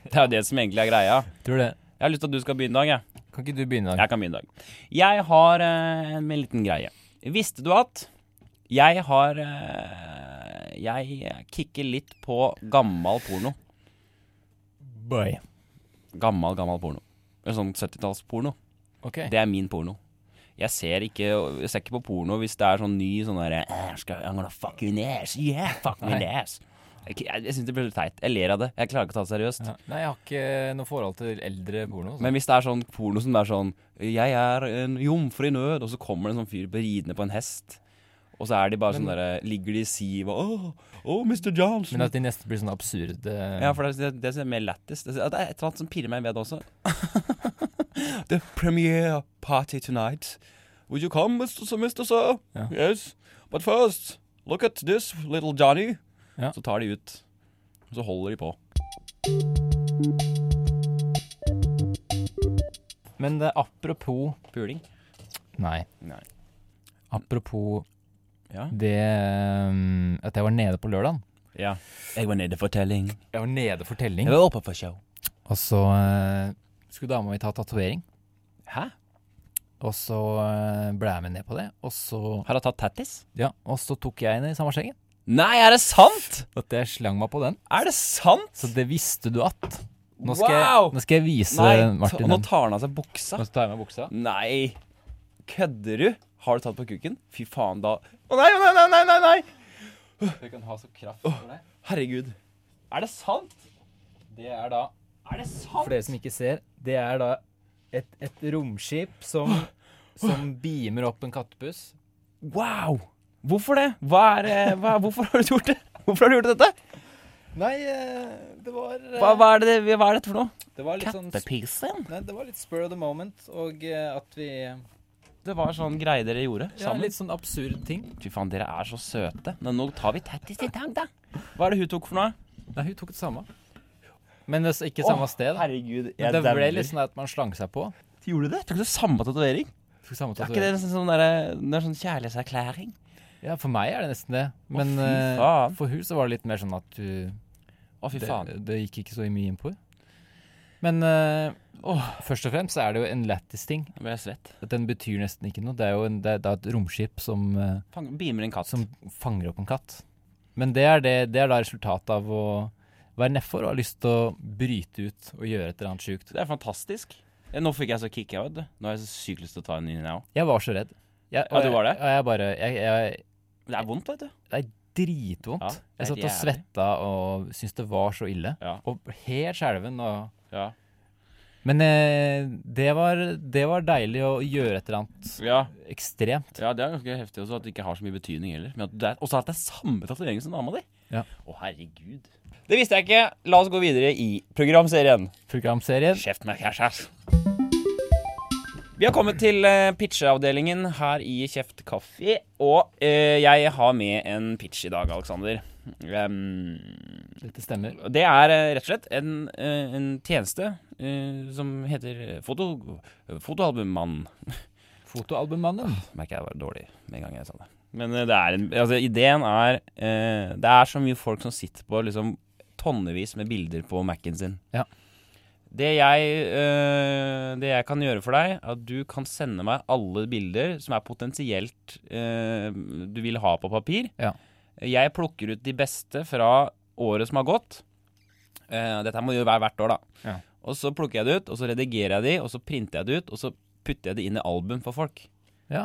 Speaker 1: Det er jo det som egentlig er greia.
Speaker 2: Tror du det?
Speaker 1: Jeg har lyst til at du skal begynne, Dag. Jeg.
Speaker 2: Kan ikke du begynne? i dag?
Speaker 1: jeg kan begynne, Dag. Jeg har eh, en liten greie. Visste du at jeg har eh, Jeg kicker litt på gammal porno.
Speaker 2: Boy.
Speaker 1: Gammal, gammal porno. En Sånn 70-tallsporno.
Speaker 2: Ok.
Speaker 1: Det er min porno. Jeg ser ikke, jeg ser ikke på porno hvis det er sånn ny sånn derre "Eh, skal- I'm gonna fuck you in the ass. Yeah, fuck me in the ass. Jeg, jeg, jeg syns det blir litt teit. Jeg ler av det. Jeg klarer ikke å ta det seriøst.
Speaker 2: Ja. Nei, jeg har ikke noe forhold til eldre porno. altså.
Speaker 1: Men hvis det er sånn porno som det er sånn 'Jeg er en jomfru i nød', og så kommer det en sånn fyr på- ridende på en hest, og så er de bare sånn derre Ligger de i sivet og 'Å, oh, Mr. Johnson'.
Speaker 2: Men at de nesten blir sånn absurde
Speaker 1: ja, for det, det, det som er mer lættis. Det, det er et eller annet som pirrer meg ved det også. The premiere party tonight. Would you come, Mr. Sir? Mr. Sir?
Speaker 2: Ja.
Speaker 1: Yes. But first, look at this little Johnny.
Speaker 2: Ja.
Speaker 1: Så tar de ut. Og så holder de på.
Speaker 2: Men det, apropos
Speaker 1: Puling.
Speaker 2: Nei.
Speaker 1: Nei.
Speaker 2: Apropos
Speaker 1: Ja.
Speaker 2: det um, at jeg var nede på lørdagen.
Speaker 1: ja. Jeg var nede for telling.
Speaker 2: Jeg var nede for telling.
Speaker 1: Jeg var oppe for show.
Speaker 2: Og så eh, skulle dama mi ta tatovering.
Speaker 1: Hæ?
Speaker 2: Og så eh, ble jeg med ned på det. Og så,
Speaker 1: Har hun tatt tattis?
Speaker 2: ja, og så tok jeg henne i samme skjegget.
Speaker 1: Nei, er det sant?!
Speaker 2: At jeg slang meg på den.
Speaker 1: Er det sant?!
Speaker 2: Så det visste du at. Nå skal,
Speaker 1: Wow!
Speaker 2: jeg, nå skal jeg vise
Speaker 1: Nei, ta,
Speaker 2: Martin
Speaker 1: nå
Speaker 2: den.
Speaker 1: tar han av seg buksa.
Speaker 2: tar jeg med buksa.
Speaker 1: Nei, kødder du? Har du tatt på kuken? Fy faen, da Å nei, nei, nei, nei, nei, nei!
Speaker 2: Jeg kan ha så kraft for deg.
Speaker 1: Herregud. Er det sant?
Speaker 2: Det er da
Speaker 1: Er det sant?
Speaker 2: For dere som ikke ser, det er da et, et romskip som, som beamer opp en kattepuss.
Speaker 1: Wow! Hvorfor det? Hva er, eh, hva, hvorfor har du gjort det? Hvorfor har du gjort dette?
Speaker 2: Nei, eh, det var eh,
Speaker 1: Hva, hva, er, det, hva er dette for noe?
Speaker 2: Det var litt sånn sp-
Speaker 1: Kattepisen?
Speaker 2: Nei, det var litt spur of the moment, og eh, at vi
Speaker 1: Det var sånn greie dere gjorde
Speaker 2: Ja,
Speaker 1: sammen.
Speaker 2: litt sånn absurd ting.
Speaker 1: Fy faen, dere er så søte. Men nå tar vi tattis i tang, da. Hva er det hun tok for noe?
Speaker 2: Nei, hun tok det samme. Men det, ikke samme
Speaker 1: Åh,
Speaker 2: sted. da.
Speaker 1: Herregud,
Speaker 2: Men
Speaker 1: jeg
Speaker 2: det ble
Speaker 1: dauer.
Speaker 2: litt sånn at man slang seg på.
Speaker 1: Gjorde du det? liksom- Altså- Tok du samme tatovering?
Speaker 2: Tok samme
Speaker 1: Er ikke det
Speaker 2: tatovering.
Speaker 1: nesten sånn, derre- det er sånn kjærlighetserklæring?
Speaker 2: Ja, for meg er det nesten det. Men
Speaker 1: fy
Speaker 2: eh,
Speaker 1: faen.
Speaker 2: for hun så var det litt mer sånn at du
Speaker 1: Å, fy
Speaker 2: det,
Speaker 1: faen.
Speaker 2: det gikk ikke så mye inn på det. Men eh, først og fremst så er det jo en lættis ting.
Speaker 1: Nå ble jeg svett.
Speaker 2: At Den betyr nesten ikke noe. Det er jo en, det er, det er et romskip som, eh,
Speaker 1: Fang, beamer en katt.
Speaker 2: som fanger opp en katt. Men det er, det, det er da resultatet av å være nedfor og ha lyst til å bryte ut og gjøre et eller annet sjukt.
Speaker 1: Det er fantastisk. Eh, Nå fikk jeg så kick out. Nå har jeg så sykt lyst til å ta en ny nå.
Speaker 2: Jeg var så redd. Jeg,
Speaker 1: Ja, du var det?
Speaker 2: Jeg, og jeg bare jeg, jeg,
Speaker 1: Men Det er vondt, vet du.
Speaker 2: Det er dritvondt.
Speaker 1: Ja, det er
Speaker 2: jeg satt og
Speaker 1: jævlig.
Speaker 2: svetta og syntes det var så ille.
Speaker 1: Ja.
Speaker 2: Og helt skjelven og
Speaker 1: Ja.
Speaker 2: Men eh, det, var, det var deilig å gjøre et eller annet
Speaker 1: ja.
Speaker 2: ekstremt.
Speaker 1: det er ganske heftig også at det ikke har så mye betydning heller. Men at det er, også at det er samme tatovering som dama di.
Speaker 2: Ja.
Speaker 1: Å, herregud. Det visste jeg ikke. La oss gå videre i programserien.
Speaker 2: Programserien.
Speaker 1: Kjeft med kjæresters. Vi har kommet til eh, pitcheavdelingen her i Kjeft kaffe. Og eh, jeg har med en pitch i dag, Aleksander. Um,
Speaker 2: Dette stemmer.
Speaker 1: Og Det er eh, rett og slett en, eh, en tjeneste eh, som heter eh, foto, Fotoalbummann.
Speaker 2: Fotoalbummannen.
Speaker 1: Merker jeg var dårlig med en gang jeg sa det. Men eh, det er en, altså, ideen er eh, Det er så mye folk som sitter på liksom, tonnevis med bilder på Mac-en sin.
Speaker 2: Ja.
Speaker 1: Det jeg, eh, det jeg kan gjøre for deg, er at du kan sende meg alle bilder som er potensielt eh, du vil ha på papir.
Speaker 2: Ja.
Speaker 1: Jeg plukker ut de beste fra året som har gått. Eh, dette må jeg gjøre hver- hvert år, da.
Speaker 2: Ja.
Speaker 1: Og så plukker jeg det ut, og så redigerer jeg de, og så printer jeg det ut, og så putter jeg det inn i album for folk.
Speaker 2: Ja.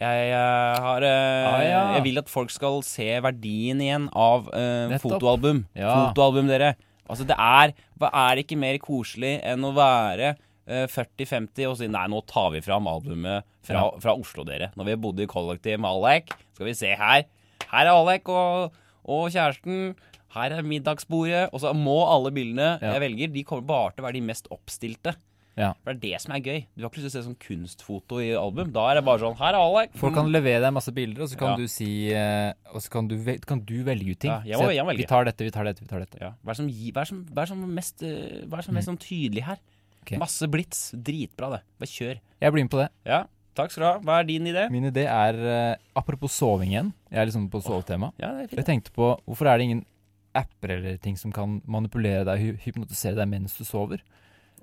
Speaker 1: Jeg, eh, har, eh,
Speaker 2: Ah, ja.
Speaker 1: jeg vil at folk skal se verdien igjen av eh,
Speaker 2: Nettopp.
Speaker 1: fotoalbum.
Speaker 2: Ja.
Speaker 1: Fotoalbum, dere. Altså, det er Hva er ikke mer koselig enn å være eh, 40-50 og si nei, nå tar vi fram albumet fra,
Speaker 2: Ja.
Speaker 1: fra Oslo, dere. Når vi bodde i kollektiv med Alek, skal vi se her. Her er Alek og, og kjæresten. Her er middagsbordet. Og så må alle bildene
Speaker 2: Ja.
Speaker 1: jeg velger, de kommer bare til å være de mest oppstilte.
Speaker 2: Ja.
Speaker 1: For det er det som er gøy. Du har ikke lyst til å se sånn kunstfoto i album. Da er det bare sånn Her er Alek.
Speaker 2: Folk kan levere deg masse bilder, og så kan
Speaker 1: Ja.
Speaker 2: du si eh, Og så kan du, vel- kan du velge ut ting.
Speaker 1: Ja, jeg må-
Speaker 2: Si at
Speaker 1: jeg må velge.
Speaker 2: Vi tar dette, vi tar dette, vi tar dette.
Speaker 1: Ja. Hva er det som, gi- hva er det som, hva er det som mest, eh, hva er det som mest sånn tydelig her?
Speaker 2: Mm. Ok.
Speaker 1: Masse blits. Dritbra, det. Bare kjør.
Speaker 2: Jeg blir med på det.
Speaker 1: Ja, takk skal du ha. Hva er din idé?
Speaker 2: Min idé er eh, Apropos soving igjen. Jeg er liksom på sovetema.
Speaker 1: Ja, det er
Speaker 2: Jeg
Speaker 1: fint.
Speaker 2: tenkte på hvorfor er det ingen apper eller ting som kan manipulere deg, hy- hypnotisere deg mens du sover?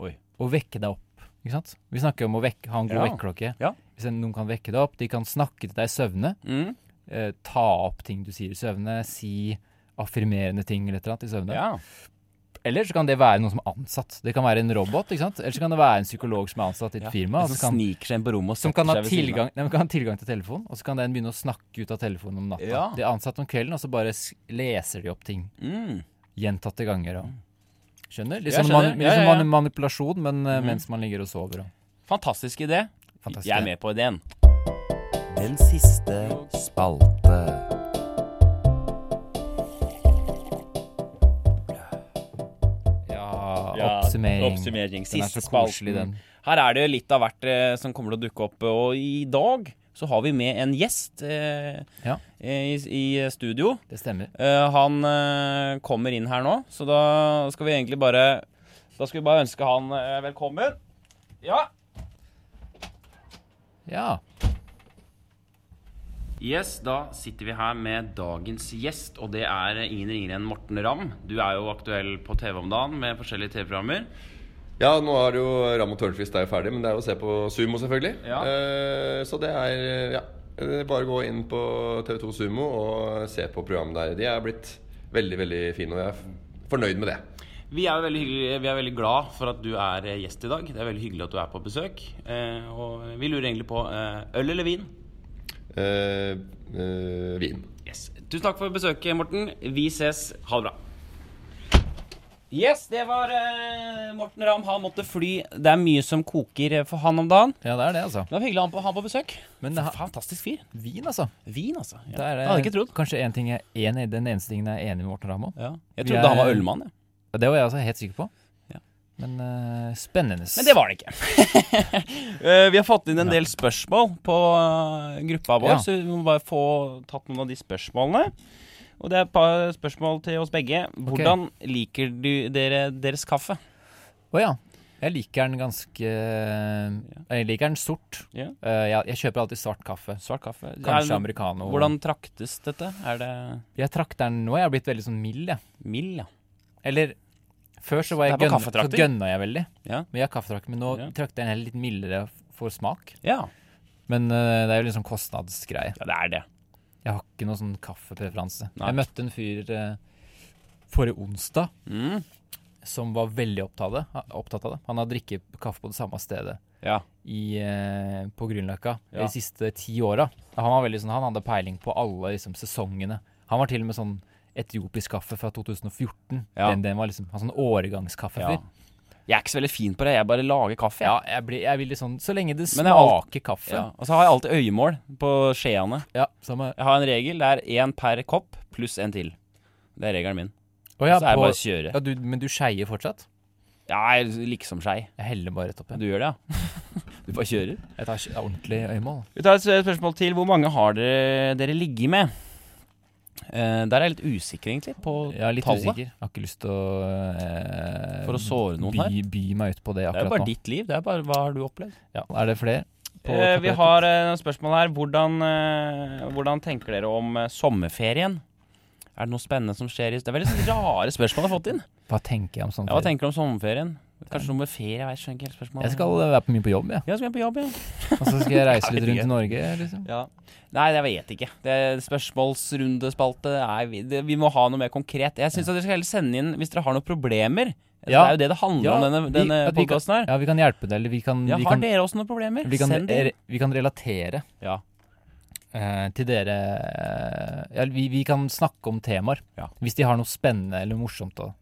Speaker 1: Oi.
Speaker 2: Og vekke deg opp. Ikke sant? Vi snakker om å vekke, ha en god
Speaker 1: Ja.
Speaker 2: vekkerklokke.
Speaker 1: Ja.
Speaker 2: Hvis en- noen kan vekke deg opp, de kan snakke til deg i søvne.
Speaker 1: Mm.
Speaker 2: eh, ta opp ting du sier i søvne, si affirmerende ting eller et eller annet i søvne.
Speaker 1: Ja.
Speaker 2: Eller så kan det være noen som er ansatt. Det kan være en robot. ikke sant? Eller så kan det være en psykolog som er ansatt i et
Speaker 1: Ja,
Speaker 2: firma.
Speaker 1: en
Speaker 2: og
Speaker 1: som
Speaker 2: så altså, kan,
Speaker 1: sniker seg inn på rommet og
Speaker 2: som kan ha
Speaker 1: setter seg ved siden av.
Speaker 2: tilgang, nei, men kan ha tilgang til telefon, og så kan den begynne å snakke ut av telefonen om natta.
Speaker 1: Ja.
Speaker 2: De er ansatt om kvelden, og så bare s- leser de opp ting
Speaker 1: Mm.
Speaker 2: gjentatte ganger. Og, skjønner? Litt
Speaker 1: Ja,
Speaker 2: sånn
Speaker 1: skjønner.
Speaker 2: mani-
Speaker 1: Ja,
Speaker 2: litt sånn
Speaker 1: ja, Mm. ja.
Speaker 2: mani- manipulasjon, men eh, mens man ligger og sover. Og.
Speaker 1: Fantastisk idé.
Speaker 2: Fantastisk.
Speaker 1: Jeg er med på ideen. Den siste spalte.
Speaker 2: Ja, oppsummering.
Speaker 1: Oppsummering.
Speaker 2: Den er
Speaker 1: Siste
Speaker 2: så koselig,
Speaker 1: spalten.
Speaker 2: den.
Speaker 1: Her er det jo litt av hvert eh, som kommer til å dukke opp. Og i dag så har vi med en gjest eh,
Speaker 2: Ja.
Speaker 1: eh, i, i studio.
Speaker 2: Det stemmer.
Speaker 1: Eh, han eh, kommer inn her nå, så da skal vi egentlig bare Da skal vi bare ønske han eh, velkommen. Ja.
Speaker 2: Ja.
Speaker 1: Yes, da sitter vi her med dagens gjest, og det er ingen ringere enn Morten Ramm. Du er jo aktuell på TV om dagen med forskjellige TV-programmer.
Speaker 3: Ja, nå er det jo Ram og Tørnquist er jo ferdig, men det er jo å se på Sumo, selvfølgelig.
Speaker 1: Ja.
Speaker 3: Eh, så det er eh, ja. eh, Bare gå inn på TV2 Sumo og se på programmet der. De er blitt veldig, veldig fine, og jeg er f- fornøyd med det.
Speaker 1: Vi er jo veldig, hyggelig- vi er veldig glad for at du er eh, gjest i dag. Det er veldig hyggelig at du er på besøk. Eh, og vi lurer egentlig på eh, øl eller vin?
Speaker 3: Eh, eh, vin.
Speaker 1: Yes. Tusen takk for besøket, Morten. Vi ses. Ha det bra. Yes, det var eh, Morten Ramm. Han måtte fly. Det er mye som koker eh, for han om dagen.
Speaker 2: ja, det er det, altså.
Speaker 1: Det var hyggelig å ha han på, ha han på besøk.
Speaker 2: Men det ha-
Speaker 1: Fantastisk fyr.
Speaker 2: Vin, altså.
Speaker 1: Vin, altså. Ja.
Speaker 2: Det er,
Speaker 1: Det
Speaker 2: eh,
Speaker 1: hadde jeg ikke trodd.
Speaker 2: Kanskje en ting jeg, en, den eneste tingen jeg er enig med Morten Ramm om.
Speaker 1: Ja. Jeg
Speaker 2: Vi
Speaker 1: trodde
Speaker 2: er-
Speaker 1: han var ølmann. Ja.
Speaker 2: Det var jeg altså helt sikker på.
Speaker 1: Ja.
Speaker 2: Men eh, spennende.
Speaker 1: Men det var han ikke. Eh, vi har fått inn en del spørsmål på eh, gruppa vår,
Speaker 2: Ja.
Speaker 1: så vi må bare få tatt noen av de spørsmålene. Og det er et par spørsmål til oss begge. Hvordan liker du dere deres kaffe?
Speaker 2: Å ja. Jeg liker den ganske Jeg liker den sort.
Speaker 1: Ja.
Speaker 2: Eh, jeg, jeg kjøper alltid svart kaffe.
Speaker 1: Svart kaffe?
Speaker 2: Kanskje
Speaker 1: er,
Speaker 2: americano.
Speaker 1: hvordan traktes dette? Er det
Speaker 2: Jeg trakk den nå. Jeg har blitt veldig sånn mild, jeg.
Speaker 1: mild, ja?
Speaker 2: Eller før så var jeg
Speaker 1: Det er på
Speaker 2: gønn, så
Speaker 1: kaffetrakter.
Speaker 2: gønna jeg veldig.
Speaker 1: Ja.
Speaker 2: Men jeg har kaffetrakter. Men nå
Speaker 1: Ja.
Speaker 2: trakter jeg den litt mildere for smak.
Speaker 1: Ja,
Speaker 2: Men eh, det er jo liksom kostnadsgreie.
Speaker 1: ja det er det.
Speaker 2: Jeg har ikke noen sånn kaffepreferanse.
Speaker 1: Nei.
Speaker 2: Jeg møtte en fyr eh, forrige onsdag
Speaker 1: Mm.
Speaker 2: som var veldig opptatt av det. Opptatt av det. Han har drikket kaffe på det samme stedet
Speaker 1: Ja.
Speaker 2: i, eh, på Grünerløkka
Speaker 1: Ja.
Speaker 2: de siste ti åra. Han, var veldig sånn, han hadde peiling på alle liksom, sesongene. Han var til og med sånn etiopisk kaffe fra 2014.
Speaker 1: Ja.
Speaker 2: Den, den var liksom han var sånn åregangskaffefyr.
Speaker 1: ja.
Speaker 2: Ja.
Speaker 1: Jeg er ikke så veldig fin på det, jeg bare lager kaffe. jeg.
Speaker 2: jeg, blir, jeg blir litt sånn Så lenge det
Speaker 1: Men jeg har
Speaker 2: smaker kaffe.
Speaker 1: Ja.
Speaker 2: Ja.
Speaker 1: Og så har jeg alltid øyemål på skjeene.
Speaker 2: samme.
Speaker 1: Jeg har en regel. Det er én per kopp pluss en til. Det er regelen min.
Speaker 2: Å ja,
Speaker 1: så er det
Speaker 2: på,
Speaker 1: bare å kjøre.
Speaker 2: ja, du, men du skeier fortsatt?
Speaker 1: Ja, jeg- liksom skei.
Speaker 2: Jeg heller bare rett opp.
Speaker 1: Du gjør det, ja? Du bare kjører?
Speaker 2: Jeg, jeg tar ikke ordentlig øyemål.
Speaker 1: Vi tar et s- spørsmål til. Hvor mange har dere, dere ligget med? Eh, der er jeg litt usikker, egentlig, på
Speaker 2: Ja, litt
Speaker 1: tallet.
Speaker 2: usikker. Jeg har ikke lyst til å eh,
Speaker 1: For å såre noen
Speaker 2: by,
Speaker 1: her.
Speaker 2: By meg ut på
Speaker 1: Det er
Speaker 2: det
Speaker 1: jo
Speaker 2: akkurat
Speaker 1: bare
Speaker 2: nå.
Speaker 1: ditt liv. Det er bare hva har du opplevd.
Speaker 2: Ja, er det flere? på
Speaker 1: Eh, vi
Speaker 2: tapetet?
Speaker 1: har eh, noen spørsmål her. Hvordan, eh, hvordan tenker dere om eh, sommerferien? Er det noe spennende som skjer i Det er veldig sånne rare spørsmål jeg har fått inn.
Speaker 2: Hva tenker jeg om sånne
Speaker 1: Ja, hva
Speaker 2: ferie?
Speaker 1: tenker du om sommerferien? Kanskje noe med ferie? Jeg vet, skjønner ikke helt spørsmålet.
Speaker 2: Jeg skal eh, være på mye på jobb, jeg.
Speaker 1: Ja, skal jeg på jobb, ja.
Speaker 2: Og så skal jeg reise
Speaker 1: Jeg
Speaker 2: litt
Speaker 1: vet
Speaker 2: rundt
Speaker 1: ikke.
Speaker 2: i Norge, liksom.
Speaker 1: Ja. Nei, jeg vet ikke. Det er Spørsmålsrundespalte Nei, vi, det, vi må ha noe mer konkret. Jeg syns at dere skal heller sende inn hvis dere har noen problemer. Altså,
Speaker 2: Ja.
Speaker 1: Det er jo det det handler
Speaker 2: Ja,
Speaker 1: om, denne,
Speaker 2: vi-
Speaker 1: denne
Speaker 2: at vi kan-
Speaker 1: podkasten her.
Speaker 2: Ja, vi kan hjelpe deg, eller vi kan,
Speaker 1: Ja,
Speaker 2: vi
Speaker 1: har
Speaker 2: kan,
Speaker 1: dere også noen problemer?
Speaker 2: vi kan,
Speaker 1: Send det inn.
Speaker 2: re- vi kan relatere
Speaker 1: Ja.
Speaker 2: eh, til dere eh, Ja, vi, vi kan snakke om temaer.
Speaker 1: Ja.
Speaker 2: Hvis de har noe spennende eller morsomt da,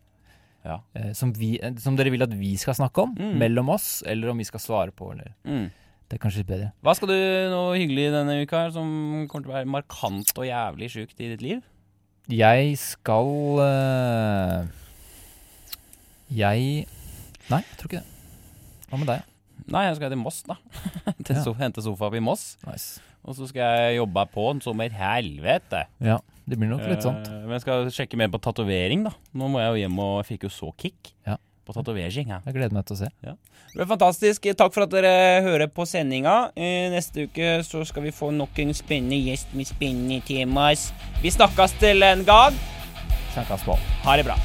Speaker 1: Ja.
Speaker 2: eh, som, vi, eh, som dere vil at vi skal snakke om,
Speaker 1: Mm.
Speaker 2: mellom oss, eller om vi skal svare på, eller
Speaker 1: Mm.
Speaker 2: Det er kanskje litt bedre.
Speaker 1: Hva skal du noe hyggelig denne uka her som kommer til å være markant og jævlig sjukt i ditt liv?
Speaker 2: Jeg skal eh, Jeg Nei, jeg tror ikke det. Hva med deg?
Speaker 1: Nei, jeg skal til Moss, da. til
Speaker 2: Ja.
Speaker 1: so hente sofa opp i Moss.
Speaker 2: Nice.
Speaker 1: Og så skal jeg jobbe på den som et helvete.
Speaker 2: Ja, det blir nok litt sånt.
Speaker 1: Eh, Men jeg skal sjekke mer på tatovering, da. Nå må jeg jo hjem, og jeg fikk jo så kick
Speaker 2: Ja.
Speaker 1: på tatovering. Ja.
Speaker 2: Jeg gleder meg til å se.
Speaker 1: Det var fantastisk. Takk for at dere hører på sendinga. Eh, Neste uke så skal vi få nok en spennende gjest med spennende temaer. Vi snakkes til en gang.
Speaker 2: Snakkes på.
Speaker 1: Ha det bra.